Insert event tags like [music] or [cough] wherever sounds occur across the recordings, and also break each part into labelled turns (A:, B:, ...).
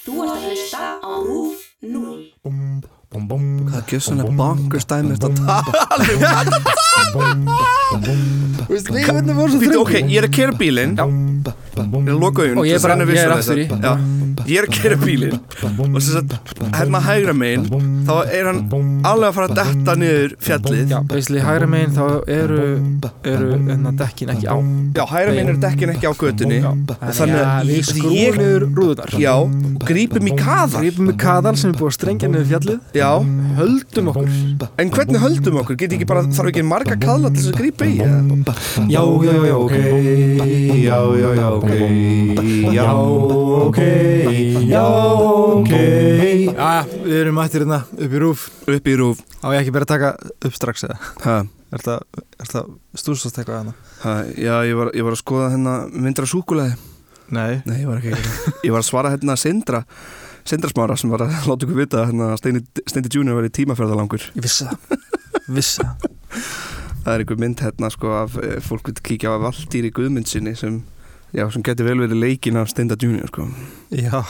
A: Þú ert að hlusta á RÚF 0.
B: Hvað
C: Það gjör svona bonkers dæmi eftir að tala
B: Veistu hvað ég hvernig voru svo
C: Ok, ég er að kera bílinn Ég loka auðvun
D: Og ég er bara- ég er aftur í.
C: Ég er að kera bílinn Og sem sagt, hérna hægra megin Þá er hann alveg að fara að detta niður fjallið
D: Já, basically hægra megin þá eru, eru enna dekkin ekki á
C: Já, hægra megin er dekkin ekki á götunni Og þannig að
D: við
C: því
D: skrúum
C: ég
D: niður rúðunar
C: Já, og grípum í kaðan
D: Grípum við kaðal sem er búið að strengja niður fjallið
C: Já,
D: Höldum okkur
C: en hvernig höldum okkur? Geti ekki bara, þarf ekki marga kaðla til þess að grípa í eða?
D: Já, já, já, ok Já, já, já, ok Já, ok Já, ok Já, við erum mættir hérna upp í rúf
C: Upp í rúf
D: Á ég ekki bara að taka upp strax eða
C: Ha,
D: Er þetta, er þetta stúsast eitthvað hérna?
C: ha, já, ég var, ég var að skoða hennar myndra súkulæði
D: Nei
C: Nei, ég var ekki að gera það. Ég var að svara hérna Sindra Sindra Smára sem var að [laughs] láta ykkur vita að hérna, Steini, Steini Junior var í tímaferðalangur
D: Ég vissi það Vissi það
C: Það er einhver mynd hérna sko af eh, fólk vil kíkja á Valdýri Guðmundsinni sem Já, sem geti vel verið leikin af Steinda Junior sko.
D: Já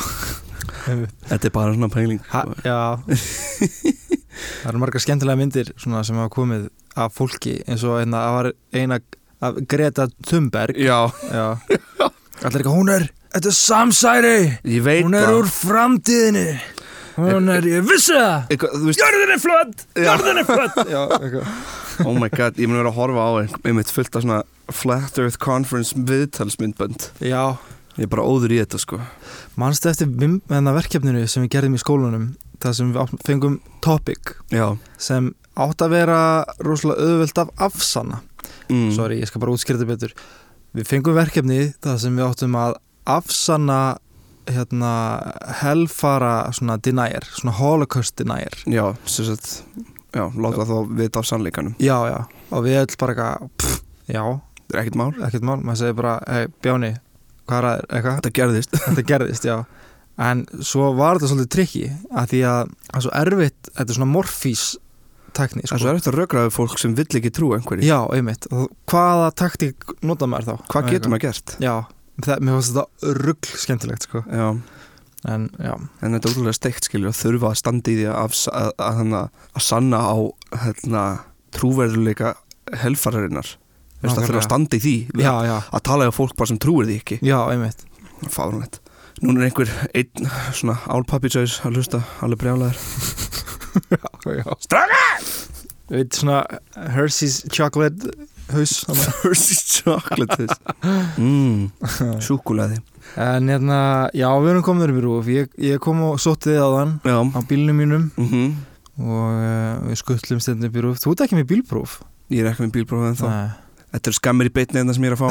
C: Þetta er bara svona pæling
D: ha,
C: sko.
D: Já Það eru margar skemmtilega myndir svona, sem hafa komið af fólki eins og einna, það var eina af Greta Thunberg
C: Já,
D: Já Allir ekki, hún er, þetta er samsæri
C: ég veit
D: Hún er
C: það.
D: úr framtíðinni Hún er, ég vissi það
C: Eitthvað, þú veist,
D: Jörðin er flödd,
C: Já.
D: jörðin er flödd Já, eitthvað
C: oh my god, ég mun vera að horfa á ein- einmitt fullt af svona Flat Earth Conference viðtalsmyndbönd
D: Já,
C: Ég er bara óður í þetta sko
D: manstu eftir vim- hérna verkefninu sem við gerðum í skólanum það sem við átt- fengum topic
C: Já,
D: sem átt að vera rosalega auðvöld af afsanna
C: mm.
D: sorry, ég skal bara útskýrta betur við fengum verkefni þar sem við áttum að afsanna hérna, helfara svona denier, svona holocaust denier
C: Já, sem sagt Já, láta þá vita af sannleikanum
D: já, já, og við öll bara eitthvað pff, já,
C: Það er ekkert mál
D: ekkert mál, maður segir bara hey, Bjáni, hvað er það, eitthvað
C: Þetta gerðist
D: [laughs] þetta gerðist, já en svo var þetta svolítið trikki að því að það er svo erfitt, þetta er svona morfís
C: Það
D: tekni,
C: er svo
D: sko
C: erfitt að rökraðu fólk sem vill ekki trúa einhverju
D: já, einmitt, Og hvaða taktík nota maður þá?
C: Hvað getur maður gert?
D: já, það, mér fannst þetta rugg skemmtilegt, sko
C: Já,
D: en já,
C: en þetta er útrúlega steikt skilur að þurfa að standa í því að, að, að, að, að sanna á hérna, trúverðuleika helfararinnar Þú veist, Það þurfa að standa í því
D: já, já,
C: að tala á fólk bara sem trúir því ekki
D: já, einmitt
C: Fárunlegt Núna er einhver einn svona álpappitsæs að hlusta alveg
D: [laughs]
C: brjálæður
D: Stráka! Eitt svona Hershey's chocolate haus þarna.
C: Hershey's chocolate this mm, Súkulaði
D: En hérna, já, við erum komin upp í rúf Ég, ég kom og sótti þið á þann
C: Já
D: á bílnum mínum
C: mm
D: og uh, við skuttlum stendin upp í rúf Þú ert ekki með bílpróf
C: Ég er ekki með bílbrófið en þá
D: Nei.
C: Þetta er skammir í beinni en það sem ég er að fá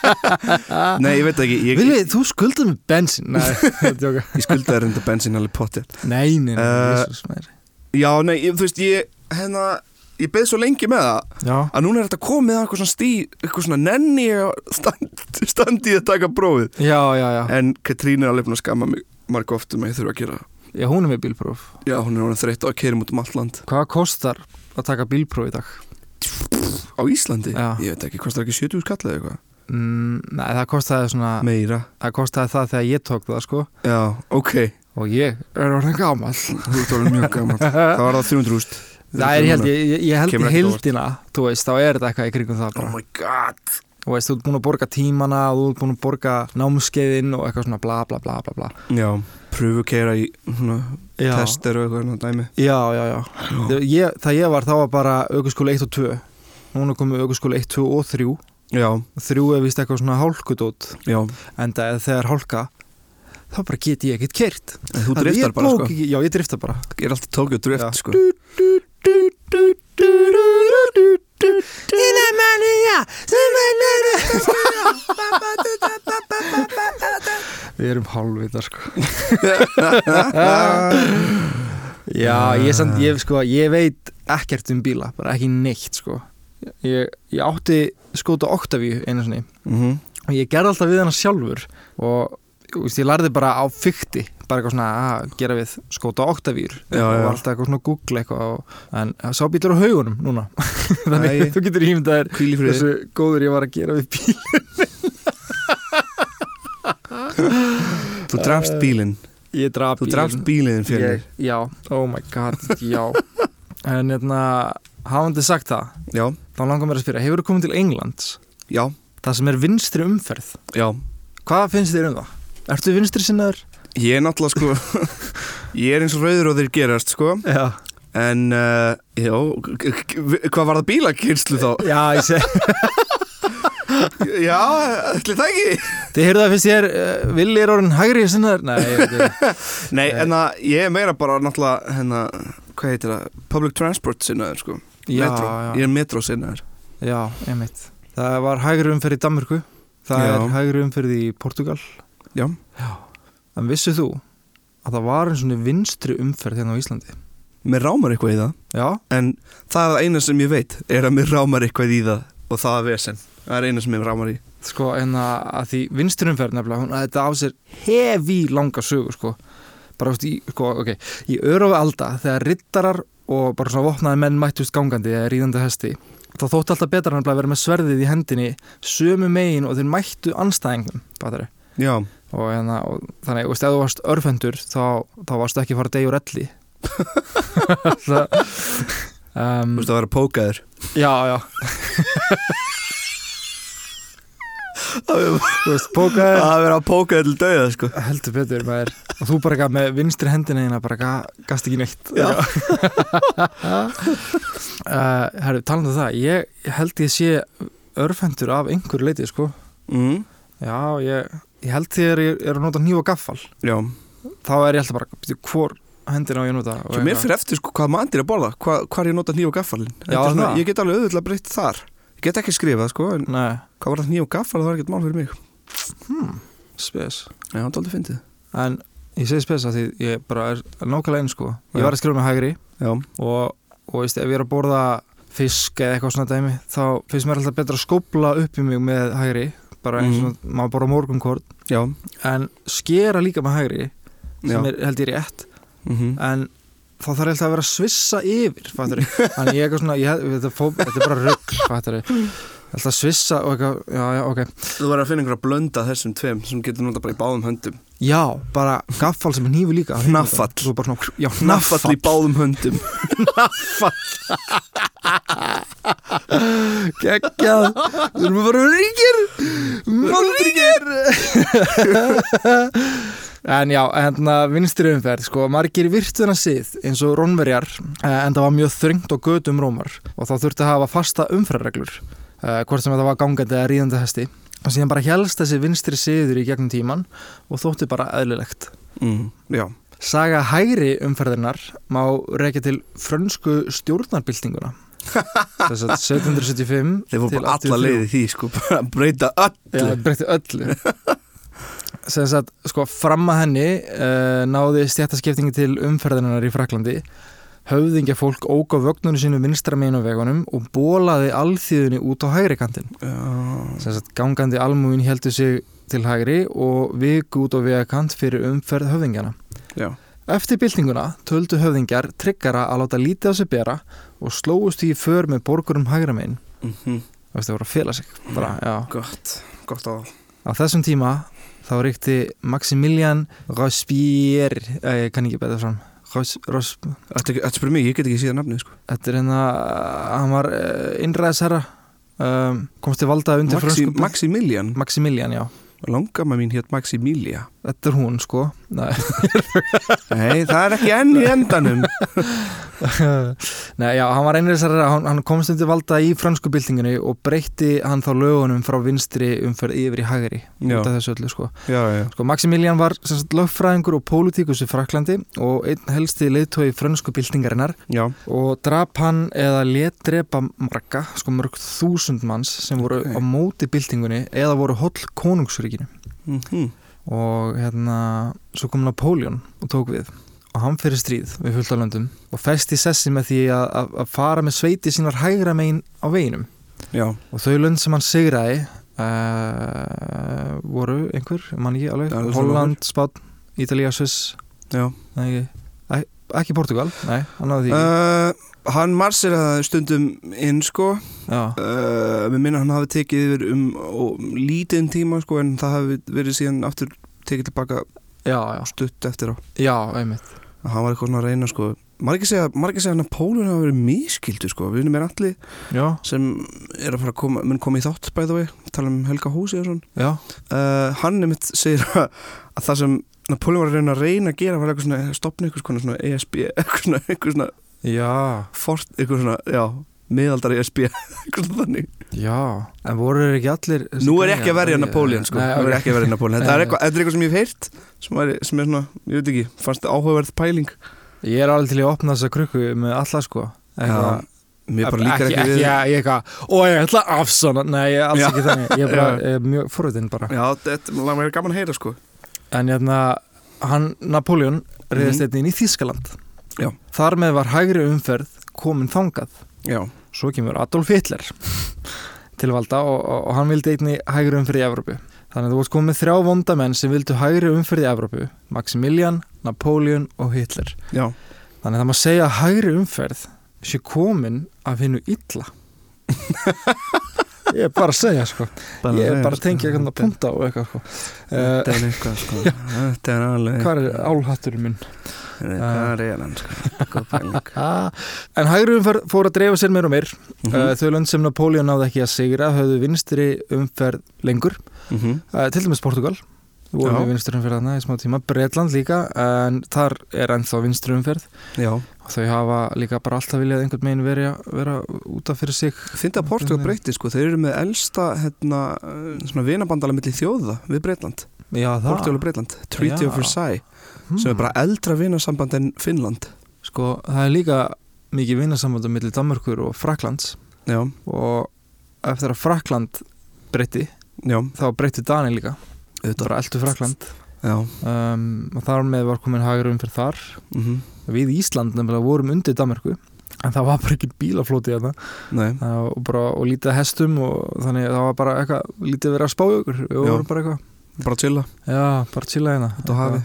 D: [laughs]
C: Nei, ég veit ekki Ég,
D: Vilji, þú skuldið með bensin [laughs] Nei, þetta er
C: ég skulda þér enda bensín alveg potti
D: Nei, nei, nei,
C: Eh,
D: Jesus, meir
C: Já, nei, ég, þú veist, ég hérna, ég beð svo lengi með það
D: Já,
C: að núna er þetta komið að eitthvað svona stí eitthvað svona nenni ég að stand, standi að taka prófið
D: já, já, já,
C: en Katrín er alveg búin að skamma mig marg oft um að ég þurfa að gera það.
D: já Hún er með bílpróf
C: Já, hún er orðin þreytt á að keira út um allt land
D: Hvað kostar að taka bílpróf í dag?
C: á Íslandi,
D: Já.
C: ég veit ekki, kostar ekki 70 skall eða eitthvað
D: Mm, nei, það kostaði svona
C: Meira
D: Það kostaði það þegar ég tók það, sko
C: Já, ok,
D: Og ég er orðin gamall
C: [laughs] þú ert orðin mjög gaman Það var það 300 rúst
D: Það er, ég held, ég, ég held
C: Kemur ekkert
D: í
C: á óvart.
D: hildina Þú veist, þá er þetta eitthvað í kringum það
C: Oh
D: bara
C: my god
D: Þú veist, þú ert búin að borga tímana Þú ert búin að borga námskeiðin Og eitthvað svona bla bla bla bla bla
C: Já, pröfu keira í svona,
D: Já,
C: tester og eitthvað svona dæmi
D: já, já, já. Þau- Ég, Það ég var, þá var bara aukurskóla 1 og 2 Núna komið aukurskóla 1, 2 og 3
C: Já,
D: 3 er vist eitthvað svona hálkudót
C: já,
D: En það, þegar hálka Þá bara get ég ekkert kert
C: þú driftar bara sko
D: ekki, Já, ég driftar bara
C: Ég er alltaf tókið drift
D: Já.
C: sko
D: [laughs] Við erum hálfvita sko [laughs] Já, ég, samt, ég, sko, ég veit ekkert um bíla bara ekki neitt sko Ég, ég átti skóta Octavíu einu sinni
C: mm -hmm.
D: og ég gerði alltaf við hana sjálfur og þú veist, ég lærði bara á fykti bara eitthvað svona að gera við skóta Octavíur
C: Já,
D: og
C: já.
D: alltaf eitthvað svona að googla eitthvað og, en sá bílar á haugunum núna [laughs] þannig
C: Æ.
D: þú getur ímyndað þér
C: Hvíl í friði
D: hversu góður ég var að gera við bíl
C: Þú drafst bílinn
D: Ég draf
C: Þú drafst bíliðin fyrir
D: Ég- Já, oh my god, já En hérna, hafandi sagt það
C: Já,
D: Þá langar mér að spyrja, hefur þú komið til Englands?
C: já,
D: Það sem er vinstri umferð
C: já
D: Hvað finnst þér um það? Ertu vinstri sinnaður?
C: Ég er náttúrulega sko [laughs] Ég er eins og rauður og þeir gerast sko
D: Já
C: En, uh, já, k- k- hvað var það bílakynslu þá?
D: [laughs] Já, ég segi
C: Já, ætli það ekki
D: Þið heyrðu það fyrst ég er uh, Villi er orðin hægri sinnaður Nei, ég veit ekki
C: Nei,
D: Nei.
C: en að ég er meira bara náttúrulega hérna, hvað heitir það, public transport sinnaður sko,
D: Já,
C: metro,
D: já,
C: [laughs] ég er metro sinnaður
D: já, ég mitt Það var hægri umferð í Danmörku Það
C: Já.
D: er hægri umferð í Portugal
C: Já.
D: En vissið þú að það var einn svona vinstri umferð hérna á Íslandi
C: Mér rámar eitthvað í það,
D: Já,
C: en það er það eina sem ég veit, er að mér rámar eitthvað í það og það er vesen, það er eina sem mér rámar í
D: sko, en að, að því vinstri umferð nefnilega, hún, að þetta á sér hefi langa sögu, sko bara, veist, í, sko, ok, í örufi alda þegar rittarar og bara svona vopnaði menn mættust gangandi eða ríðandi hesti þá þótti alltaf betra nefnilega að vera með sverðið í hendinni sömu megin og þeir mættu anstæðingum, fattar
C: Já,
D: og, hérna, og þannig, veist, ef þú varst örfendur þá, þá varstu ekki að fara degi úr elli [laughs] það, um,
C: þú veist að vera pókaður
D: já, já þú veist, pókaði
C: [laughs] að vera pókaður til dauða sko
D: heldur betur maður og þú bara gaf með vinstri hendina hérna bara ga, gast ekki neitt
C: Já.
D: [laughs] uh, herru, talandi um það ég ég held ég sé örfendur af einhverju leiti sko
C: mm.
D: já, ég, ég held þegar ég er að nota hníf og gaffal
C: Já,
D: þá er ég alltaf bara, býttu, hvor hendina á ég að nota og hérna-
C: svo mér
D: eitthvað.
C: fyrir eftir sko hvað maður er að borða, hvað, hvað er ég að nota nýju og gaffalinn Þetta
D: Já,
C: er svona-
D: það.
C: Ég get alveg auðvitað breytt þar, ég get ekki skrifað sko, en
D: Nei,
C: hvað var það nýju og gaffal, það var ekkert mál fyrir mig
D: spes
C: Já, það er aldrei fyndið
D: en ég segi spes að því ég bara er nákvæmlega einn sko ég
C: Já.
D: var að skrifa með hægri
C: Já,
D: og, og veist, ef ég er að borða fisk eða eitthvað svona dæmi þá finnst mér alltaf betra að skópla upp í mig með hægri bara eins og
C: Mhm.
D: maður borða morgunkorn
C: já,
D: en skera líka með hægri
C: já.
D: sem er held ég rétt
C: mm -hmm.
D: en þá þarf ég alltaf að vera að svissa yfir fattur þannig ég er eitthvað svona ég, þetta, fó, þetta er bara rugg fattur alltaf að svissa og eitthvað já, já, ok
C: Þú verður að finna einhverja blönda af þessum tveim sem getur nota bara í báðum höndum
D: já, bara gaffal sem er nýfi líka
C: Hnaffall.
D: Svo bara svona, já,
C: Naffall [laughs] í báðum höndum
D: geggjað við erum að fara að vera ríkir Málríkir En já, hérna vinstri umferð, sko, margir virtuðna sið eins og rónverjar eh, en það var mjög þröngt og gödum rómar og þá þurfti að hafa fasta umferðarreglur eh, hvort sem þetta var gangandi eða ríðandi hesti og síðan bara helst þessi vinstri siður í gegnum tíman og þótti bara eðlilegt
C: mm, Já,
D: Saga hægri umferðinar má rekja til frönsku
C: [laughs]
D: stjórnarbyltinguna þess að 1775
C: þeir voru
D: til
C: bara alla
D: 83.
C: leiði því sko, bara að breyta
D: Já,
C: öllu
D: það breytti öllu
C: [laughs]
D: sem sagt, sko, fram að henni uh, náði stjættaskiptingi til umferðinarnar í Fraklandi höfðingja fólk óg á vögnunum sínu vinstra megin á vegunum og bólaði alþýðunni út á hægri kantin
C: Já,
D: sem sagt, gangandi almúin heldur sig til hægri og viku út á vegakant fyrir umferð höfðingjana
C: já,
D: Eftir byltinguna töldu höfðingjar tryggara að láta lítið á sig bera og slóust því í för með borgurum hægra megin
C: mm
D: Það veist, það voru að fela sig bara, já
C: gott, gott á það
D: Á þessum tíma þá ríkti Maximilian Rospier eh, ég kann ekki betur fram Ros, Ros,
C: Þetta er spyrir mig, ég get ekki síðan nafnið sko
D: Þetta er hérna eh, hann var eh, innræðisherra um, komst til valda undir
C: Maxi,
D: frönsku-
C: Maximilian,
D: Maximilian, já
C: langamma mín hétt Maximilia
D: Þetta er hún sko Nei,
C: Nei, það er ekki enn í endanum
D: [laughs] Nei já, hann var innræðisherra hann, hann komst undir valda í fransku byltinginu og breytti hann þá lögunum frá vinstri umferð yfir í hægri
C: Já.
D: út af þessu öllu sko
C: Já, já,
D: Sko, Maximilian var sem sagt, lögfræðingur og pólitíkus í Fraklandi og einn helsti leiðtói frönsku byltingarinnar
C: já,
D: og drap hann eða let drepa marga, sko mörg þúsund manns sem voru
C: Ok.
D: á móti byltingunni eða voru holl konungsríkinu
C: mm
D: og hérna svo kom Napoleon og tók við og hann fyrir stríð við fullt af löndum og festi sessi með því að, að, að fara með sveiti sínar hægra megin á veginum
C: já,
D: og þau lönd sem hann sigraði uh, voru einhver, mann ekki alveg
C: Það er alveg
D: Holland, Spán, Ítalía, Sviss
C: já
D: nei, ekki, Æ, ekki Portugal, nei, hann náði því ekki
C: uh, Hann marsir að stundum inn sko
D: já,
C: Uh, mér minna hann hafi tekið yfir um, um lítinn tíma sko en það hafi verið síðan aftur tekið tilbaka
D: já, já,
C: stutt eftir á
D: já, einmitt
C: að hann var eitthvað svona að reyna sko margir segja, margir segja hann að Pólun hafa verið miskildur sko, við erum er allir
D: já,
C: sem er að fara að koma, mun koma í þátt by the way, tala um Helga Húsi og svona
D: já,
C: uh, hann einmitt segir að, að það sem Napoleon var að reyna að reyna að gera var eitthvað svona, stopna eitthvað svona, svona ESB, eitthvað svona, eitthvað svona
D: já
C: fort, eitthvað svona, já, miðaldar ESB, [laughs] eitthvað svona þannig.
D: Já, en voru þeir ekki allir
C: Nú er ég ekki að verja Napoleon, sko,
D: Nei,
C: nú er ég
D: okay.
C: ekki að verja Napoleon, þetta
D: Nei,
C: er
D: nei.
C: eitthvað, þetta er eitthvað sem ég hef heyrt, sem, væri- sem er svona, ég veit ekki, fannst áhugaverð pæling.
D: Ég er alveg til í að opna þessa krukku með alla sko Eitthvað-
C: mér bara líkar ekki við.
D: Já, ég eitthvað, og ég ætla að afsana Nei, ég, alls
C: Já.
D: ekki þannig, ég er bara
C: Já.
D: ég er mjög forutinn bara
C: Já, þetta er mér gaman að heyra, sko.
D: En hérna, hann, Napoleon reyðist
C: Mhm.
D: einnig inn í Þískaland
C: Já.
D: Þar með var hægri umferð komin þangað
C: Já,
D: Svo kemur Adolf Hitler til valda og, og, og hann vildi einnig hægri umferð í Evrópu Þannig að þú varst komið með þrjá vondamenn sem vildu hægri umferð í Evrópu Maximilian, Napoleon og Hitler
C: já,
D: Þannig að það má segja að hægri umferð sé komin af hinnu [laughs] illa Ég er bara að segja sko Ég er bara að tengja hérna eitthvað að punta og eitthvað sko. uh,
C: Þetta er eitthvað, [laughs] sko, þetta er alveg.
D: Hvað er álhatturinn minn?
C: Hvað er hann, sko, [laughs] góð pæling.
D: Ah. En hægri umferð fór að dreifa sér meir og meir
C: Eh,
D: uh,
C: Mhm.
D: Þau lönd sem Napoleon náði ekki að sigra höfðu vinstri umferð lengur
C: Mhm.
D: uh, Til dæmis Portugal Við vorum
C: Já.
D: í vinstri umferð þarna í smá tíma Bretland líka, en þar er ennþá vinstri umferð
C: Já,
D: og þau hafa líka bara alltaf viljað einhvern megin vera, vera út af fyrir sig
C: Fyndi að Portugal breyti sko, þeir eru með elsta hérna, eh, svona vinabandala milli þjóða við Breitland,
D: Já, það
C: Portugal og Breitland Treaty
D: Ah. Já.
C: of Versailles,
D: Hmm.
C: sem er bara eldra vinasamband en Finnland
D: Sko, það er líka mikið vinasambandum millir Danmörkur og Fraklands
C: Já,
D: og eftir að Frakland breytti,
C: já,
D: þá breytti Dani líka
C: auðvitað
D: bara eldu Frakland
C: Já,
D: um, og þar með var komin hagur umfyrir þar
C: mhm,
D: við Ísland nefnilega vorum undir Danmörku en það var bara ekki bílaflóti þarna
C: nei
D: Það var bara, og lítið af hestum og þannig að það var bara eitthvað, lítið verið að spá í okkur við
C: Já.
D: vorum bara eitthvað,
C: Bara chilla,
D: já, bara chilla hérna
C: út á hafi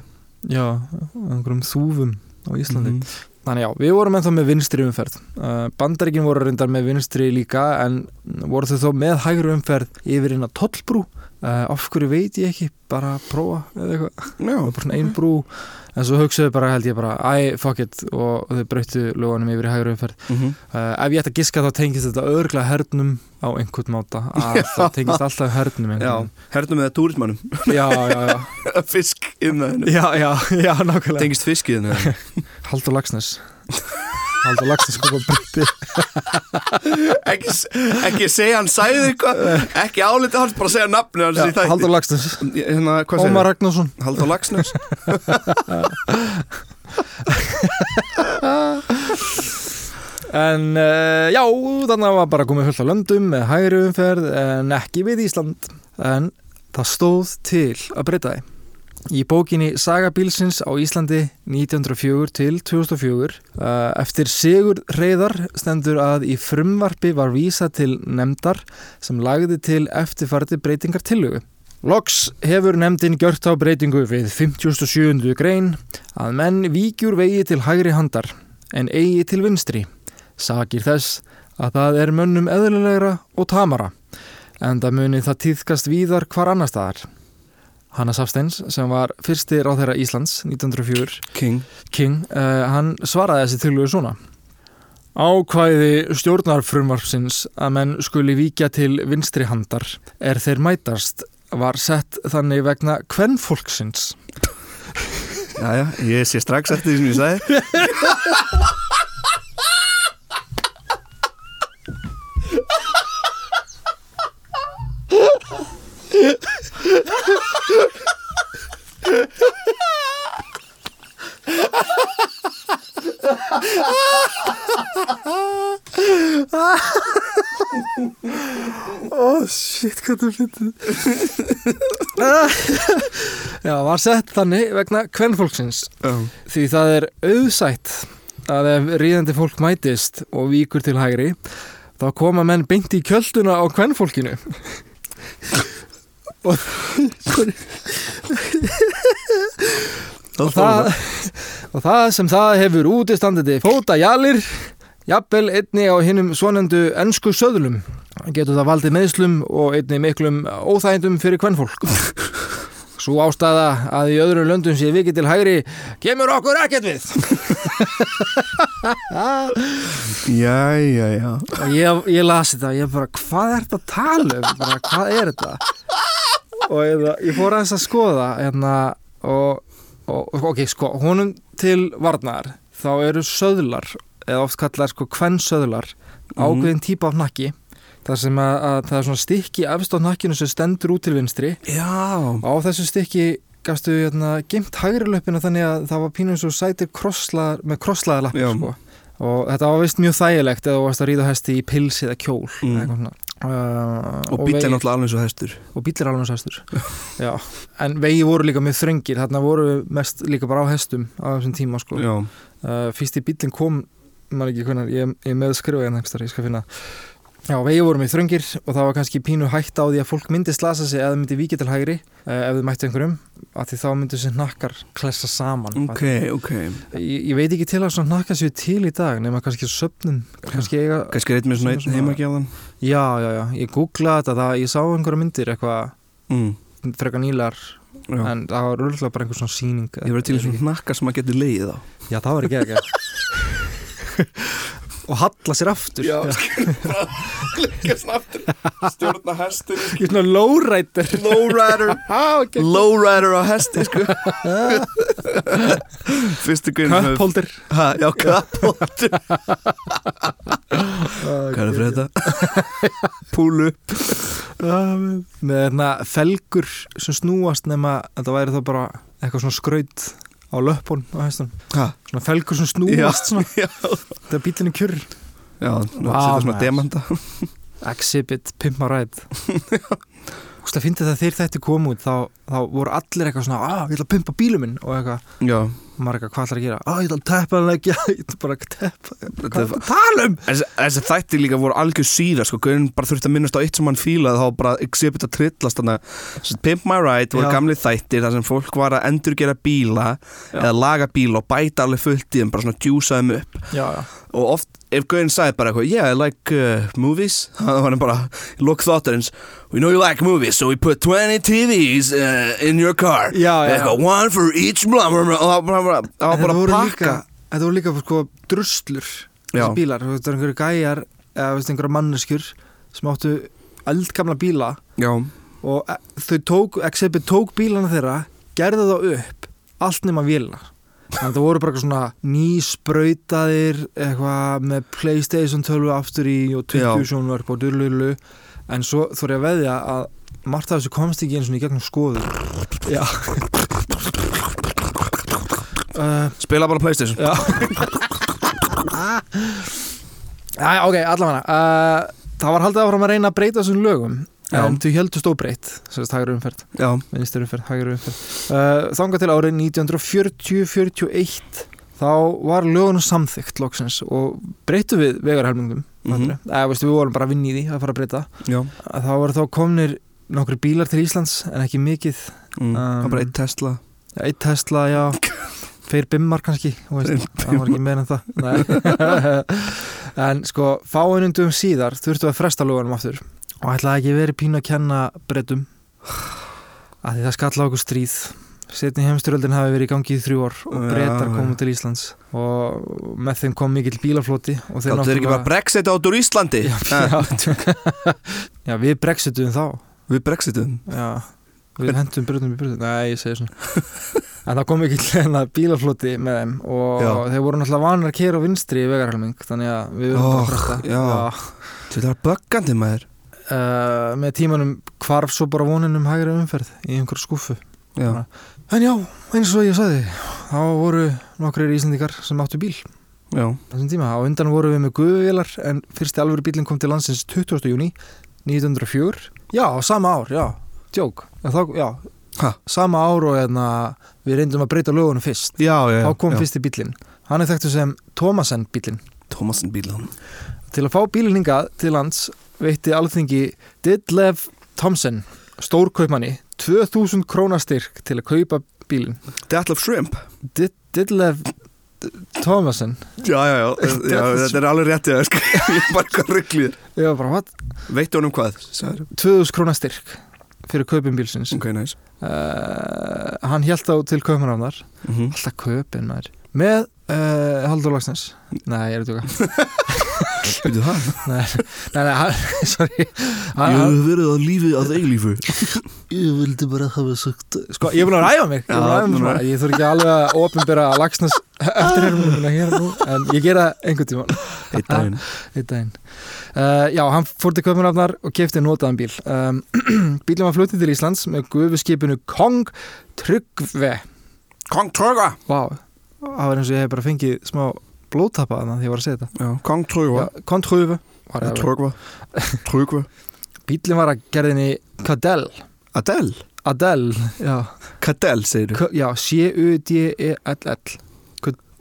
D: já, einhverjum þúfum á Íslandi
C: Mhm.
D: Þannig já, við vorum ennþá með vinstri umferð. Uh, Bandaríkin voru reyndar með vinstri líka en voru þau þó með hægri umferð yfir inn á tollbrú. Uh, af hverju veit ég ekki, bara prófa eða eitthvað.
C: Já,
D: Það var bara svona ein brú. En svo hugsaðu bara, held ég bara, æ, fuck it og þau breyttu lögunum yfir í hægri umferð.
C: mhm,
D: Uh, ef ég ætti að giska þá tengist þetta örgla hernum á einhvern máta. Að það tengist alltaf hernum
C: já
D: einhvern.
C: Hernum með túrismannum,
D: Já, já, já.
C: [laughs] fisk innan
D: Já, já, já, nákvæmlega.
C: Tengist fiskið innan
D: Haldur Lagsnes. Haldur Lagsnes sko bara breytti.
C: ekki, s- ekki segja hann sæði eitthvað Ekki álita hans, bara segja nafni hans í þætti
D: Haldur Lagsnes.
C: Hérna, hvað segir
D: Ómar Ragnarsson.
C: Haldur Lagsnes
D: En uh, já, þannig var bara komið fullt á löndum með hægri umferð en ekki við Ísland. En það stóð til að breyta því. Í bókinni Saga bílsins á Íslandi 1904 til 2004 uh, eftir Sigurd Reyðar stendur að í frumvarpi var vísa til nefndar sem lagði til eftirfarti breytingar tillögu. Loks hefur nefndin gjört á breytingu við 57. grein að menn víkjur vegi til hægri handar en eigi til vinstri sakir þess að það er mönnum eðlilegra og tamara, en það muni það týðkast víðar hvar annar staðar. Hanna Safsteins, sem var fyrsti ráðherra Íslands 1904,
C: King
D: King, uh, hann svaraði þessi tilögu svona. Ákvæði stjórnarfrumvarpsins að menn skuli víkja til vinstri handar er þeir mætast var sett þannig vegna kvennfólksins.
C: Jæja, ég sé strax eftir því sem ég sagði
D: Oh shit, hvað þú finnir Já, var sett þannig vegna kvennfólksins
C: um.
D: Því það er auðsætt að ef ríðandi fólk mætist og víkur til hægri þá koma menn beint í kjölduna á kvennfólkinu og, og, það, [laughs] og það sem það hefur útistandandi fóta jalir jafnvel einni á hinnum svonendu ennsku söðlum getur það valdið meðslum og einni miklum óþægindum fyrir kvennfólk Svo ástæða að í öðrum löndum sé vikið til hægri kemur okkur ekkert við.
C: Já, já, já
D: Og ég, ég las þetta, ég bara, hvað er þetta að tala um? Bara, hvað er þetta? Og ég, ég fór aðeins að skoða hérna, og, og ok, sko, honum til varnar þá eru söðlar eða oft kallar sko kvennsöðlar ákveðin típa af nakki þar sem að, að það er svona stykki efst á nakkinu sem stendur út til vinstri
C: Já,
D: á þessu stykki gafstu hérna, geimt hægri löpina þannig að það var pínum svo sætir krosslaðar, með krosslaðar lappir
C: Já.
D: sko. og þetta var vist mjög þægilegt eða þú varst að ríða á hesti í pils eða kjól
C: Mm.
D: eða eitthvað svona. Uh,
C: og bíll er
D: vegir-
C: náttúrulega alveg svo hestur
D: og bíll er alveg sæstur
C: [laughs]
D: Já. en vegi voru líka mjög þröngir þarna voru mest líka bara á hestum á þessum tíma sko.
C: Já,
D: uh, fyrst í bílinn kom maður ekki hvernig, ég, ég er með skrifa hérna hefstar, ég skal finna Já, vegi voru mjög þröngir og það var kannski pínu hægt á því að fólk myndi slasa sig eða myndi víkja til hægri uh, ef þau mættu einhverjum að því þá myndu þessi nakkar klessa saman
C: ok, ok
D: ég, ég veit ekki til að svona nakkar séu til í dag nema kannski söpnum kannski eiga,
C: Kannski reynd með svona einn
D: Svona-
C: heimagjafan
D: Já, já, já, ég googlaði þetta það, ég sá einhverja myndir eitthvað
C: mm,
D: frekar nýlar
C: Já
D: en það var örgulega bara einhver svona síning
C: Ég verið til í svona hnakka sem maður getur leiðið á
D: Já, það var ekki ekki
C: [laughs]
D: og halla sér aftur Já,
C: Gæst aftur, stjórna hestur
D: Ég er svona lowrider
C: [laughs] Lowrider
D: ah, okay.
C: Lowrider á hesti, [laughs] sko Fyrstu grein
D: Cupholder
C: ha, Já, [laughs] kappholdur Hvað er fyrir þetta? Púlu
D: [laughs]
C: upp
D: Ah, Með þarna felgur sem snúast nema þetta væri þá bara eitthvað svona skraut á löppun á hestum
C: Ha,
D: Svona felgur sem snúast svona
C: [laughs] já.
D: Þetta er bílinu kjur
C: Já, nú
D: Vá,
C: setja svona
D: maður.
C: demanda
D: Exhibit Pimp a
C: [laughs]
D: Ride Úsla fyndi það þegar þetta kom út þá, þá voru allir eitthvað svona ah, ég ætla að pimpa bílu minn og eitthvað
C: Já,
D: og maður eitthvað hvað ætlar að gera ah, ég ætla að teppa hann ekki [laughs] ég ætla bara að teppa
C: þetta
D: hvað
C: er
D: er það að tala um
C: Þessi, þessi þætti líka voru algjör síða sko, Gaurin bara þurfti að minnast á eitt sem hann fílaði þá bara exhibit að trillast þannig að sem sagt, Pimp My Ride voru
D: Já.
C: gamli þættir þar sem fólk var að endurgera bíla eða laga bíla og bæta alveg fullt í þeim bara svona djúsa þeim upp
D: já, já.
C: og oft ef Gaurin sagði bara eitthvað yeah I like uh, movies [laughs] þá var hann bara look þáttarins we know you like movies so we put 20 TVs uh, in your car
D: Já, já.
C: Eitthvað, one for each blah, blah, blah, og það var bara, það var bara
D: En þetta
C: að
D: voru
C: pakka
D: líka- Þetta voru líka sko, druslur
C: Já.
D: þessi bílar, þú veist, það eru einhverju gæjar eða þú veist, einhverju manneskjur sem áttu eldgamla bíla
C: já,
D: og e, þau tók, Exhibit tók bílana þeirra gerðu þá upp, allt nema vélar þannig að það voru bara eitthvað svona nýsprautaðir eitthvað með Playstation 12 aftur í og 20
C: Já.
D: sjónvarp og dululu en svo þór ég að veðja að margt af þessu komst ekki eins og í gegnum skoðu Já uh,
C: spila bara Playstation
D: Já Æ, ok, allavega uh, Það var haldið áfram að reyna að breyta þessum lögum
C: Já.
D: En þau heldust óbreytt Sérst hægri umferð,
C: já,
D: minnstri umferð, hægri umferð uh, Þanga til árið 1940-41 Þá var lögunum samþykkt loksins Og breytu við vegarhelmingum mm
C: Mhm.
D: -hmm. Eða, veistu, við vorum bara að vinna í því að fara að breyta Eh,
C: já
D: Þá voru þá komnir nokkri bílar til Íslands En ekki mikið
C: Mm, það
D: Um,
C: var bara eitt Tesla
D: Já, eitt Tesla, já [laughs] Tveir bimmar kannski þú veist, Það var ekki meira en það Nei. [laughs] En sko, fáinundum síðar þurftu að fresta lögunum aftur og ætlaði ekki verið pínu að kenna breytum að því það skalla á okkur stríð Setni heimsturöldin hafi verið í gangi í þrjú ár og
C: Já,
D: breytar
C: já.
D: komu til Íslands og með þeim kom mikill bílafloti og þeir
C: Gáttu þeir ekki bara Brexit át úr Íslandi Ha,
D: [laughs] Já, já, við brexituðum þá
C: Við Brexitum
D: Já, við hendum bröðnum í bröðnum Nei, ég segi svona En það kom ekki hérna bílafloti með þeim og
C: Já.
D: þeir voru náttúrulega vanir að kera á vinstri í vegarhelming þannig að við verðum
C: Och,
D: bara að frætta
C: já. Þetta var böggandi maður
D: Uh, Með tímanum hvarf svo bara vonin um hægri umferð í einhver skúfu
C: Já,
D: En já, eins og ég sagði þá voru nokkrir íslendingar sem áttu bíl
C: já,
D: þessum tíma á undan voru við með guðuvélar en fyrsti alvöru bílinn kom til landsins 20. júni 1904 já, á sama ár, já, tjók En þá, já,
C: Ha?
D: sama ár og hérna, við reyndum að breyta lögunum fyrst
C: já, já
D: þá kom
C: já.
D: fyrsti bílinn, hann er þekktu sem Thomasen bílinn
C: Thomasin bílan
D: til að fá bílinn hingað til lands veitti alþingi Didlev Thompson stórkaupmanni 2000 krónastyrk til að kaupa bílinn
C: Death of Shrimp
D: Did, Didlev Thomasen
C: Já, já, já, já þetta er alveg rétt ég, [laughs] sko. ég er bara eitthvað rugglýður
D: ég var bara, what?
C: Veitu honum hvað? sagðirðu?
D: 2000 krónastyrk fyrir kaupin bílsins
C: ok, næs
D: uh, hann hjælt á til kaupinafnar
C: mm -hmm.
D: alltaf kaupin maður með uh, Haldur Lagsnes nei, ég er að duga
C: Býtu það?
D: nei, nei, nei, hann, [laughs] sorry hann,
C: Ég
D: hann,
C: hef verið að lífi að eilífu
D: ég vildi bara hafa sagt sko, ég er búin að ræfa mig ég, er búin að ræfa mig
C: Já,
D: smá. ég þurf ekki alveg að opinbera Lagsnes [laughs] eftir hérna hér og nú en ég gera einhvern tíman
C: Eitt daginn
D: einn daginn uh, já, hann fór til Kaupmannafnar og kefti notaðan bíl [clears throat] um, bílum var flutið til Íslands með gufuskipinu Kong Tryggve
C: Kong Tröga
D: Vá, það var eins og ég hef bara fengið smá blóðtappa þannig að ég var að segja þetta
C: Kong Tröga
D: Já, Kong Tryggve
C: Trögva Trögva
D: bílum var að gerðinni Cadell
C: Adele
D: Adele, já,
C: Cadell segir
D: K- já E C-U-D-E-L-L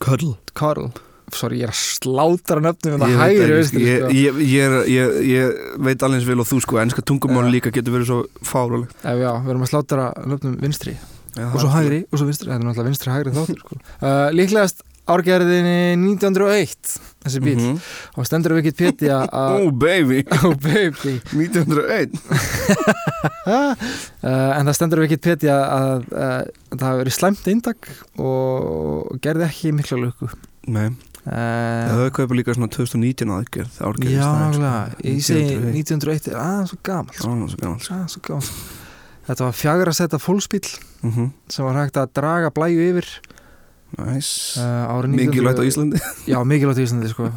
C: Cuddle
D: Karl sorry, ég er að slátra nöfnum hérna
C: Ég
D: það
C: veit
D: hægir,
C: ekki,
D: veist
C: sko. ég, ég, ég, er- ég, ég veit alveg eins vel og þú sko Ennska tungumál
D: Já.
C: líka getur verið svo fáralegt
D: já, við erum að slátra nöfnum vinstri og svo hægri og svo vinstri, þetta er náttúrulega vinstri hægri þáttur sko. uh, líklegast árgerðinni 1901 þessi bíl
C: -hmm.
D: og stendur við ekkert péti [laughs] að
C: Oh baby
D: oh baby
C: 1901
D: uh, en það stendur við ekkert péti að uh, það hafi verið slæmt eindak og gerði ekki mikla löku
C: Nei, það
D: uh,
C: hefur kaupið líka svona 2019 aðgerð sko. Það árgerðist
D: já,
C: aðeins.
D: nákvæmlega. ég segi
C: 1901.
D: 1901 er aðeins svo gamalt
C: Ó, það er svo gaman sko.
D: aðeins svo gamalt þetta var fjagra setta fólksbíl
C: Mhm.
D: sem var hægt að draga blæju yfir
C: Næs
D: uh, árið 1900
C: Mikilvægt á Íslandi [laughs]
D: Já, mikilvægt í Íslandi sko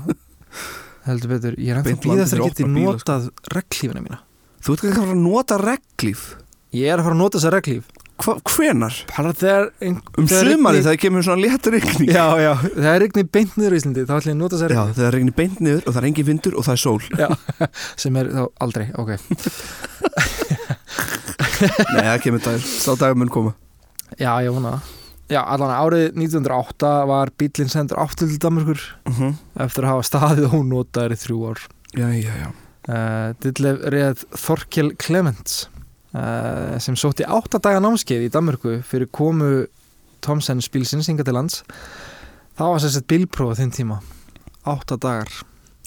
D: Heldur betur, ég er ennþá
C: Beint
D: að býða
C: landið fyrir
D: þegar ég geti
C: opna bíla,
D: notað reglífina mína
C: Þú ert ekki að fara að nota reglíf
D: Ég er að fara að nota þessa reglíf
C: Hva, Hvenar?
D: Bara þegar ein-
C: Um
D: þegar
C: sumari
D: rignir-
C: þegar kemur svona létt rigning
D: Já, já, þegar rignir beint niður í Íslandi þá ætlum ég að nota þessa
C: Já,
D: reglíf
C: þegar það regnir beint niður og það er engin vindur og það er
D: [laughs]
C: sól
D: sem er þá aldrei, ok
C: Nei, það kemur dagur, sá dagur mun koma
D: Já, ég vona það Já, allan árið 1908 var bílinn sendur aftur til Danmarkur
C: uh
D: Mhm.
C: -huh.
D: eftir að hafa staðið og notaður í þrjú ár
C: Já, já, já
D: uh, Dillef reið Þorkel Clements uh, sem sótti átta daga námskeið í Danmörku fyrir komu Thomsens bílsins hinga til lands það var sérstætt bílprófa þinn tíma átta dagar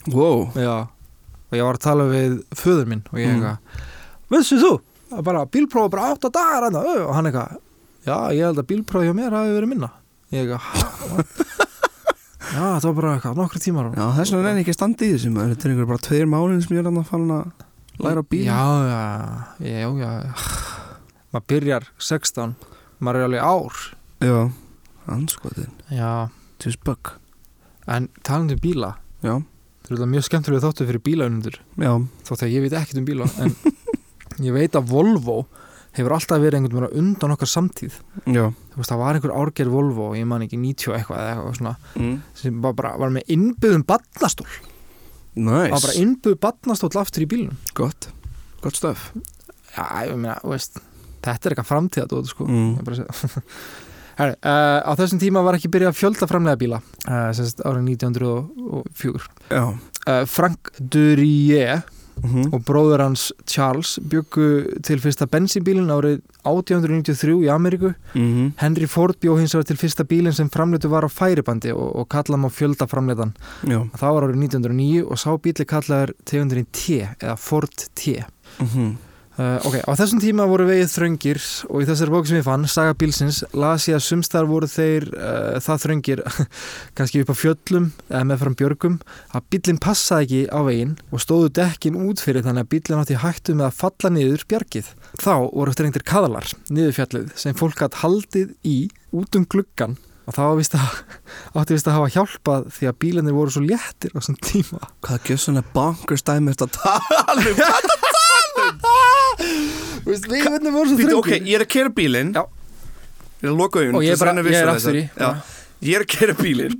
C: Wow,
D: Já. og ég var að tala við föður minn og ég
C: Mm.
D: eitthvað vissu þú, Það er bara bílprófa bara átta dagar hana. og hann eitthvað já, ég held að bílprófa hjá mér hafi verið minna ég eitthvað "Ha?"
C: [laughs]
D: já, það var bara eitthvað, nokkru tímar
C: já þess vegna er ég ekki að standa í þessu maður Þetta er einhver bara tveir málinn sem ég er annað farin að læra á bíl
D: já, já, já, já, já. maður byrjar 16 maður er alveg ár
C: já. anskotin,
D: já.
C: tjus bug
D: en talandi um bíla
C: Já,
D: það er þetta mjög skemmtilega þáttu fyrir bílaunundur
C: já,
D: þótt að ég veit ekkert um bíla
C: [laughs]
D: en ég veit að Volvo hefur alltaf verið einhvern veginn á undan okkar samtíð
C: já
D: þú veist það var einhver árgerð Volvo ég man ekki 90 og eitthvað eða eitthvað svona
C: mm.
D: sem bara, bara var með innbyðum badnastól það var bara
C: Nice,
D: innbyðu badnastól aftur í bílunum
C: gott, gott stöf
D: já, ég meina, þú veist þetta er eitthvað framtíðadóð sko
C: mm.
D: Ég bara segi- [laughs] Herri, uh, á þessum tíma var ekki byrjað að fjölda framlega bíla uh, sérst árið 1904
C: Já
D: uh, Frank Durie
C: mm -hmm.
D: og bróður hans Charles byggu til fyrsta bensínbílin árið 1893 í Ameríku
C: Mhm.
D: Henry Ford bjó hins vegar til fyrsta bílin sem framleitu var á færibandi og, og kallam á fjölda framleitan
C: Já
D: það var árið 1909 og sá bíli kallaður tegundurinn T eða Ford T
C: mm
D: Uh, ok, á þessum tíma voru vegið þröngir og í þessari bók sem ég fann, Saga bílsins, las ég að sumstar voru þeir uh, það þröngir, [laughs] kannski upp á fjöllum eða meðfram björgum, að bílinn passaði ekki á veginn og stóðu dekkin út fyrir þannig að bílinn átti í hættu með að falla niður bjargið. Þá voru strengtir kaðalar niður fjallið sem fólk hatt haldið í út um gluggan og það var víst að, [laughs] átti vist að hafa hjálpað því að bílinnir voru svo léttir á þessum tíma.
C: Hvað gjöð svona bankers dæmi þetta tala um?
B: Þú veist, lífinu voru svo
C: Býtu,
B: þröngir
C: um? ok, ég er að kera bílinn
D: Já.
C: Ég er að loka auðvun
D: Og ég er bara- ég er aftur í.
C: Ég er að kera bílinn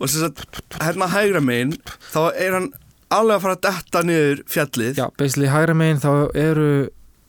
C: Og sem sagt, hérna hægra megin Þá er hann alveg að fara að detta niður fjallið
D: Já, basically hægra meginn þá eru,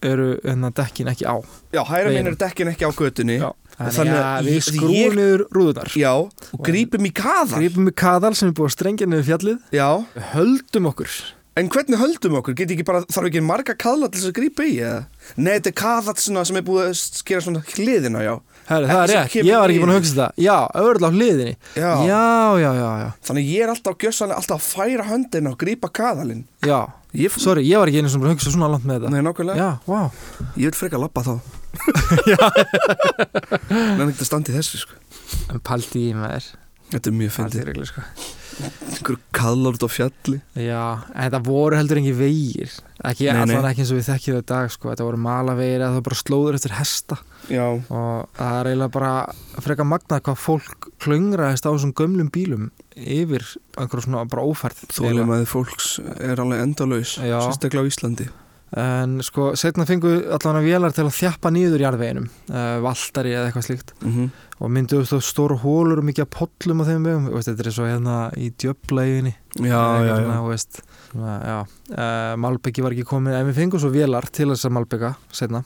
D: eru hérna, dekkin ekki á.
C: Já, hægra
D: Veginum.
C: megin er dekkin ekki á götunni
D: Já.
C: Þannig
D: Þannig
C: að
D: að við
C: ég- ég-
D: skrúum niður rúðunar
C: Já, og grípum í kaðar
D: Grípum við kaðal sem er búið að strengja niður fjallið
C: Já,
D: Höldum okkur
C: en hvernig höldum okkur? Geti ekki bara, þarf ekki marga kaðla til þess að grípa í eða? Nei, þetta er kaðat svona sem er búið að skera svona hliðina, já
D: Herri, Það
C: Ekki
D: er
C: sem
D: rétt,
C: kemur
D: ég var ekki búin að
C: niður.
D: hugsa þetta Já, öðrulega á hliðinni
C: Já.
D: já, já, já, já,
C: Þannig ég er alltaf gjössanlega alltaf að færa höndina og grípa kaðalinn
D: já.
C: Ég, f-
D: Sorry, ég var ekki einu sem bara hugsa svona langt með þetta
C: nei, nákvæmlega,
D: Já, vá
C: ég vil freka [laughs] labba þá Nei, þetta standi þessu sko.
D: En paldi í maður
C: Þetta er mjög
D: Paldi í
C: fyndið
D: reglu, sko
C: Einhver kallar út á fjalli
D: Já, en þetta voru heldur engi vegir Ekki,
C: Nei, nei.
D: allan ekki eins og við þekkjum þetta í dag, sko Þetta voru malavegir eða það voru bara slóður eftir hesta
C: Já,
D: Og það er eiginlega bara frekar magnað hvað fólk klöngraðist á þessum gömlum bílum Yfir einhverjum svona bara ófærð eiginlega.
C: þólimaði fólks er alveg endalaus
D: Já.
C: Sérstaklega á Íslandi
D: En sko, setna fengu allan að vélar til að þjappa nýður jarðveginum uh, Valtari eða eitthvað slíkt
C: mm
D: og mynduðust þá stóru hólur og mikið af pollum á þeim vegum, Þú veist, þetta er svo hérna í djöflaginni
C: Já, já, já
D: Veist, svona, já. Uh, Malbyggi var ekki komið en við fengum svo vélar til þess að Malbygga setna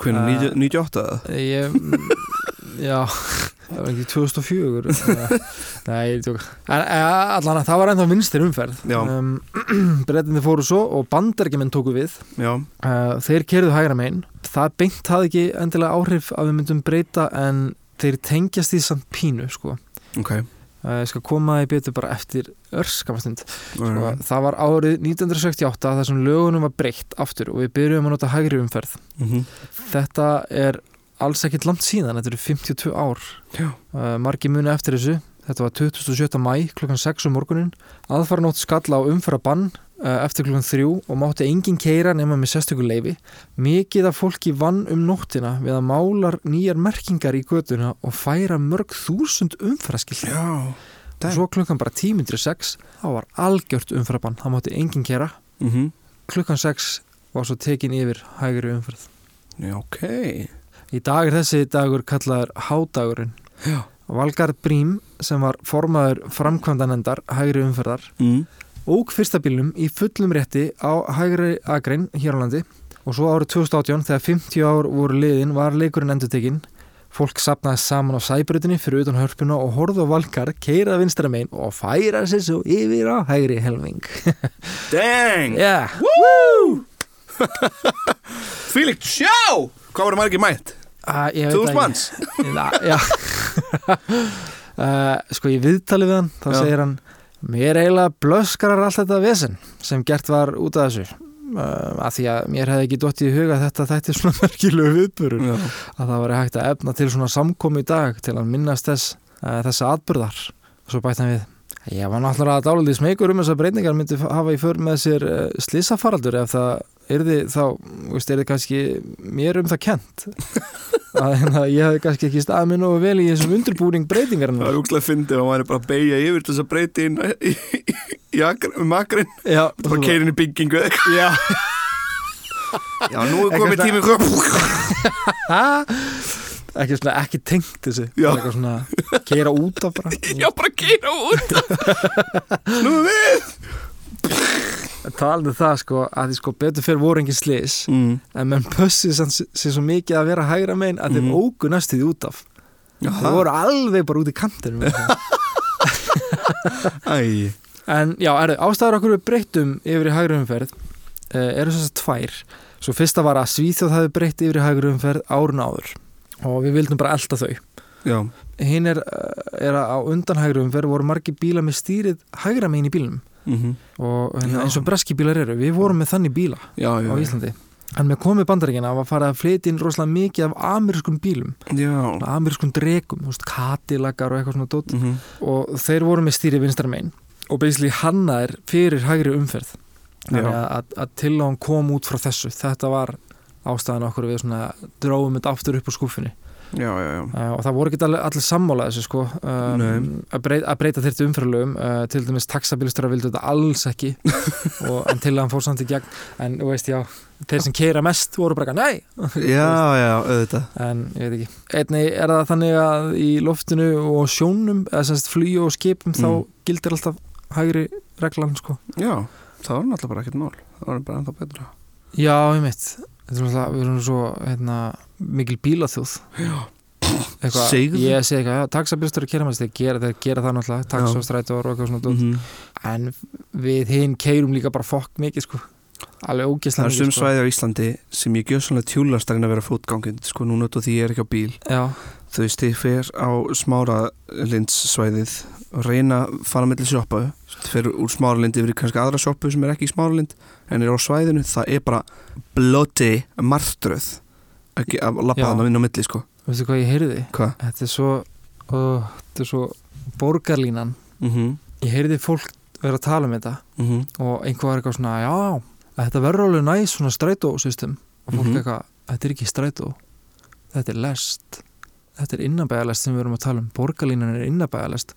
C: Hvernig, 90
D: Eh,
C: 98 eða?
D: ég, mm, já það var ekki 2004 eh, nei, ég tjók en, en allan að það var ennþá vinstir umferð
C: Já.
D: um, [clears throat] breytinni fóru svo og bandargeminn tóku við
C: Já,
D: Uh, þeir kerðu hægra megin það beint hafði ekki endilega áhrif að við myndum breyta en þeir tengjast því samt pínu sko.
C: ok
D: uh, ég skal koma því betur bara eftir örskamastund
C: Alright.
D: og það var árið 1968 þar sem lögunum var breytt aftur og við byrjuðum að nota hægri umferð
C: Mhm.
D: þetta er alls ekkit langt síðan, þetta eru 52 ár
C: Já.
D: uh, margi muni eftir þessu þetta var 27. mæ klukkan 6 um morgunin aðfaranótt skalla á umfarabann uh, eftir klukkan 3 og mátti engin keira nema með sérstöku leifi mikið af fólki vann um nóttina við að málar nýjar merkingar í götuna og færa mörg þúsund umfaraskilt
C: Já
D: og svo klukkan bara 10.06 þá var algjört umfrabann, það mátti enginn kera
C: mm
D: klukkan 6 var svo tekin yfir hægri umfrað
C: Já, ok
D: í dag er þessi dagur kallaður hádagurinn
C: Já.
D: Valgar Brím sem var formaður framkvæmdanendar hægri umferðar
C: mm.
D: ók fyrsta bílnum í fullum rétti á hægri agrein hér á landi og svo árið 2018 þegar 50 ár voru liðin var leikurinn endurtekinn fólk sapnaði saman á sæbrutinni fyrir utan hörpuna og horfðu á valkar keirað vinstra megin og færa sér svo yfir á hægri helming [laughs]
C: Dang
D: yeah.
C: Fílíkt sjá Hvað voru margir mætt?
D: uh,
C: 2000 manns
D: [laughs] Já uh, Sko ég viðtali við hann þá
C: Já.
D: segir hann Mér eiginlega blöskrar allt þetta vesen sem gert var út af þessu uh, að því að mér hefði ekki dottið í huga að þetta þætti svona [laughs] merkilegu viðbörun
C: Já.
D: að það væri hægt að efna til svona samkomi í dag til að minnast þess uh, þessa atbyrðar og svo bætti hann við Ég var náttúrulega dálítið smeykur um þess að breytingar myndi f- hafa í för með sér uh, slissafaraldur ef það yrði þá, veist, yrði kannski mér um það kent að hérna, ég hefði kannski ekki staðið mér nógu vel í þessum undirbúning breytingarinn
C: Það er úkslega fyndið að maður er bara að beigja yfir til þess að breyti inn í, í, í akrin, um akrin
D: Já,
C: og keira inn í byggingu eða eitthvað.
D: Já,
C: Já, nú er
D: Eitthvað
C: komið
D: svona-
C: tími hvað-
D: ha? ekki svona, ekki tengt þessu
C: Já.
D: Bara eitthvað svona, keira út af bara
C: Já, bara keira út Nú er við
D: talandi um það sko, að því sko betur fyrir voru engin slis
C: mm.
D: en menn pössið sem, sem svo mikið að vera hægra megin að þeim
C: Mhm.
D: ógu næstu því út af þeir voru alveg bara út í kantinu
C: [laughs] Æ
D: En já, er, ástæður okkur við breyttum yfir í hægri umferð uh, eru þess að tvær. Svo fyrsta var að Svíþjóð hafi breytt yfir í hægri umferð árun áður og við vildum bara elda þau.
C: Já,
D: Hinn er, eh, er að á undan hægri umferð voru margir bíla með stýrið hægra megin í bílunum
C: mm
D: og eh,
C: Já.
D: eins og breski bílar eru. Við vorum með þannig bíla
C: já, já
D: á Íslandi. En með komið bandaríkina var farið að flytja inn rosalega mikið af amerískum bílum,
C: Já
D: amerískum dregum, katilakar og eitthvað svona dót
C: mm -hmm.
D: og þeir voru með stýri vinstra megin og basically hanna er fyrir hægri umferð þannig
C: Já.
D: að, að, að til og hann kom út frá þessu þetta var ástæðan okkur við svona drófum þetta aftur upp úr skúfinni
C: Já, já, já
D: uh, og það voru ekki allir, allir sammála þessu sko um,
C: Nei.
D: að, breyta, að breyta þyrfti umferðlögum uh, til dæmis taxabilistur vildu þetta alls
C: [laughs]
D: ekki og, en til að hann fór samt í gegn en þú veist já, þeir sem keira mest voru bara eitthvað, nei,
E: Já, já, auðvitað
D: en ég veit ekki einnig er það þannig að í loftinu og sjónum, eða semst flýju og skipum
C: Mm.
D: þá gildir alltaf hægri reglan sko.
C: Já, það var náttúrulega bara ekkert mál Það var bara ennþá betra
D: Já, ég mitt Þetta er náttúrulega, við erum svo hérna, mikil bílaþjóð Eitthvað,
C: Segðu.
D: Ég segi eitthvað, taxabjóstur og kerumast þeir gera, þeir gera það náttúrulega, tax
C: Já.
D: og strætóar og eitthvað svona
C: mm
D: mm en við hinn keirum líka bara fokk mikið sko alveg
C: Það
D: ógeðslega
C: er sum
D: mikið sko.
C: svæði á Íslandi sem ég gjöð svona tjúlast að reyna að vera fótgangind sko núna út og því ég er ekki á bíl
D: Já,
C: þau stifir á smára lindsvæðið og reyna að fara mellir sjoppu fyrir úr smáralindi yfir í kannski aðra sjoppu sem er ekki í smáralind en er á svæðinu, það er bara blóti martröð ekki að
D: Já.
C: lappa þarna inn á milli sko
D: Veistu hvað ég heyrði?
C: Hva?
D: Þetta er svo, ó, þetta er svo borgarlínan
C: Mm -hmm.
D: Ég heyrði fólk vera að tala um þetta
C: Mm -hmm.
D: og einhver var eitthvað svona, já, þetta verður alveg næs svona strætósystem og fólk
C: Mhm.
D: eitthvað, þetta er ekki strætó þetta er lest þetta er innabæðalest sem við erum að tala um borgarlínan er innabæðalest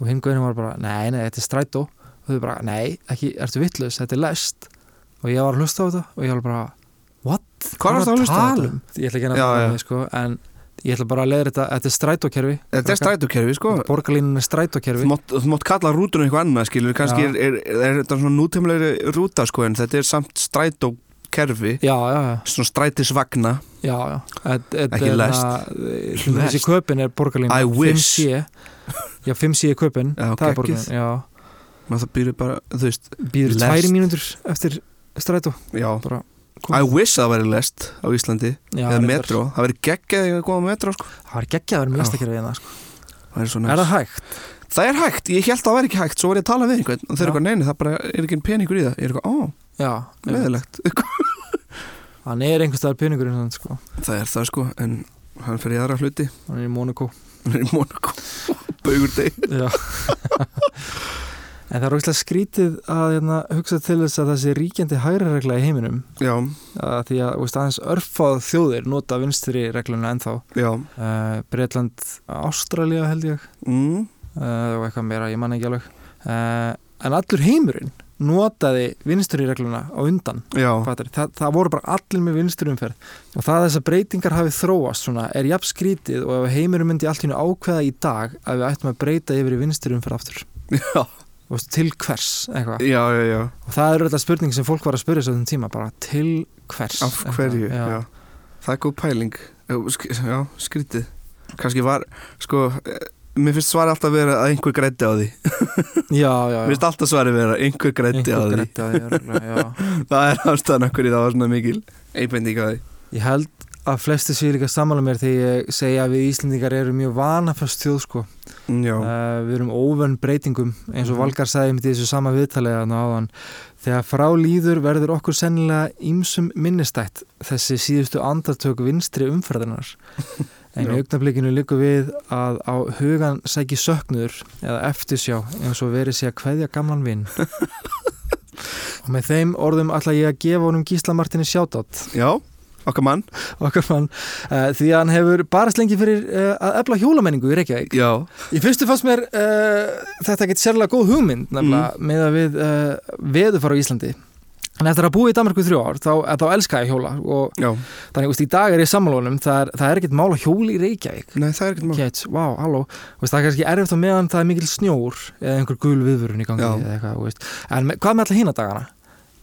D: og hinn gauðin var bara, nei, nei, þetta er strætó og þau bara, nei, ekki, ertu vittlaus, þetta er lest og ég var að hlusta á þetta og ég var bara, what?
C: Hvað varstu að hlusta á þetta?
D: um? Ég ætla ekki að
C: Já,
D: nefna
C: já.
D: það, sko, en ég ætla bara að leiða þetta, þetta er strætókerfi
C: Þetta er strætókerfi sko
D: borgarlínan er
C: Þú
D: strætókerfi
C: mátt, þú mátt kalla rútuna eitthvað annað skilur, kannski er,
D: Já.
C: er, er þetta svona nútimlegri rúta sko en þetta er samt strætókerfi
D: Já, já, já
C: svona strætisvagna
D: Já, já et, et,
C: Ekki lest.
D: lest Þessi
C: Lest.
D: köpinn er borgarlín
C: I wish.
D: 5C Já, 5C er köpinn
C: Já,
D: Það
C: geggjuð.
D: er borgarlín Já,
C: maður það býður bara, þú veist
D: býður
C: Lest.
D: tværi mínútur eftir strætó
C: já,
D: Bara
C: I wish að það væri lest á Íslandi
D: Já,
C: eða
D: reyndar.
C: metro, það væri geggjað að koma á metro sko.
D: Það var geggjað að vera með
C: Já.
D: lestakjara við það sko.
C: það er, svo
D: Er
C: næs.
D: það hægt?
C: það er hægt, ég held að það væri ekki hægt svo var ég að tala við einhvern og þeir
D: Já.
C: eru eitthvað neini, það bara er ekki peningur í það ég er eitthvað, ó,
D: Já
C: meðilegt
D: Hann er einhvers staðar peningurinn þannig sko
C: það er það sko, en hann fer í aðra hluti
D: Hann er í Monaco
C: hann er í Monaco [laughs] baugur deg [laughs]
D: Já En það er ógæslega skrítið að hérna, hugsa til þess að þessi ríkjandi hægri regla í heiminum
C: já,
D: að því að þú veist, aðeins örfáð þjóðir nota vinstri regluna ennþá
C: já,
D: uh, Breitland, Ástralja held ég
C: mm,
D: uh, og eitthvað meira, ég man ekki alveg uh, en allur heimurinn notaði vinsturregluna á undan
C: já
D: fattar, það, það voru bara allir með vinsturumferð og það að þessar breytingar hafi þróast svona, er jafn skrítið og ef heimurinn myndi allt í hennu ákveða í dag að við ættum að breyta yfir í vinsturumferð aftur
C: [laughs] já,
D: Þú veist, til hvers eitthvað
C: já, já, já.
D: og það er alltaf spurning sem fólk var að spyrja þessum tíma bara til hvers
C: af hverju,
D: eitthvað,
C: já. það er góð pæling já, sk- já, skrítið kannski var, sko eh, mér finnst svar alltaf vera að einhver grætti á því
D: já, já,
C: Mér finnst alltaf svarið vera einhver grætti á
D: Einhver
C: því
D: græddi á því, örugglega, já.
C: [laughs] Það er ástæðan okkur í það var svona mikil einbending á því
D: Ég held að flesti séu líka sammála mér þegar ég segja að við Íslendingar erum mjög vanafast þjóð sko.
C: Mm, Já,
D: Uh, við erum óvönn breytingum eins og
C: Mhm.
D: Valgar sagði mitt í þessu sama viðtalega ná áðan. Þegar frá líður verður okkur sennilega ímsum minnistætt þessi síðustu andartök vinstri
C: [laughs]
D: umferðarnar. En í
C: Já.
D: augnablikinu líku við að á hugan sæki söknur eða eftirsjá eins og verið sé að kveðja gamlan
C: [laughs]
D: vinn. og með þeim orðum ætla ég að gefa honum Gísla Martini sjátátt
C: já, okkar mann
D: okkar mann uh, því að hann hefur barast lengi fyrir uh, að efla hjólamenningu í Reykjavík.
C: Já,
D: Í fyrstu fannst mér uh, þetta ekkert sérlega góð hugmynd nefnilega með að við uh, veðufara á Íslandi en eftir að búa í Danmarku í þrjú ár þá, þá elska ég hjóla og
C: já,
D: þannig úst, í dag er ég sammálunum það er, það er ekkert mála hjóli í Reykjavík
C: nei það er ekkert mál
D: Kets, vá, halló, veist, það er kannski erfitt á meðan það er mikil snjór eða einhver gul viðvörun í gangi
C: Já.
D: eða eitthvað, þú veist. en með, hvað með alla hína dagana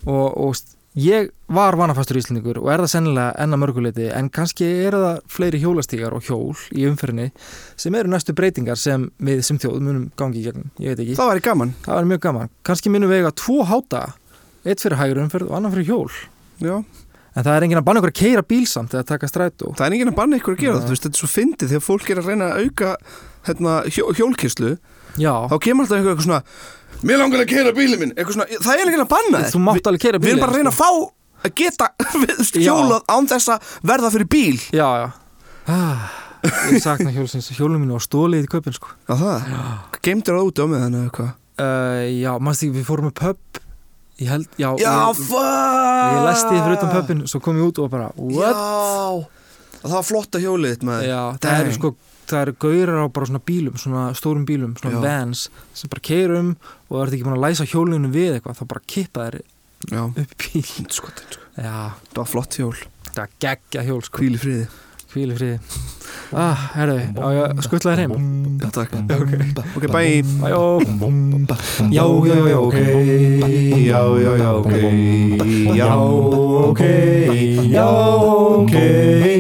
D: og, og veist, ég var vanafastur íslendingur og er það sennilega enna mörguleiti en kannski eru það fleiri hjólastígar og hjól í umferðinni sem eru næstu breytingar sem við sem þjóð munum gangi í gegnum, ég veit ekki,
C: Það væri gaman,
D: það var mjög gaman kannski munum við eiga tvo háta eitt fyrir hægur umferð og annan fyrir hjól
C: já
D: en það er enginn að banna ykkur að keira bíl samt eða taka strætó
C: Það er enginn að banna ykkur að gera
D: Nei.
C: það, þú veist, þetta er svo fyndið þegar fólk er að reyna að auka hérna, hjó, hjólkyslu,
D: Já,
C: þá kemur alltaf eitthvað, eitthvað svona Mér langar að keira bílið minn, eitthvað svona, það er enginn að banna
D: þú
C: þér.
D: mátt alveg keira
C: Við
D: bíl
C: erum bara að reyna að fá að geta [laughs] við-
D: Já.
C: hjólað án þess að verða fyrir bíl
D: Já, já ah, Ég sakna hjólsins Hjólum mínu á stólið í köpinn sko
C: Já, það, geimdur það úti á meðan eða hvað
D: uh, Já, mannst því við fórum með pöpp Ég held, já
C: Já,
D: ég,
C: fuck
D: ég lesti því fyrir utan pöppin Svo kom ég út og bara What?
C: Já, það var flotta hjólið þitt maður
D: Já, það eru
C: Dang.
D: sko Það eru gaurar á bara svona bílum, svona stórum bílum, svona
C: Já.
D: vans sem bara keirum og það ertu ekki búin að læsa hjólinu við eitthvað, þá bara kippa þær
C: Já,
D: upp í bíl.
C: skotin, sko
D: Já,
C: Það var flott hjól,
D: það er geggja hjól sko,
C: kvíl í friði
D: hvíli friði. Ah, herðu, á ég að skutla þér heim?
C: Já, takk
B: Ok,
C: Ok, bye oh.
D: Æjó.
B: Já, já, já, ok Já, já, já, ok Já, ok Já, ok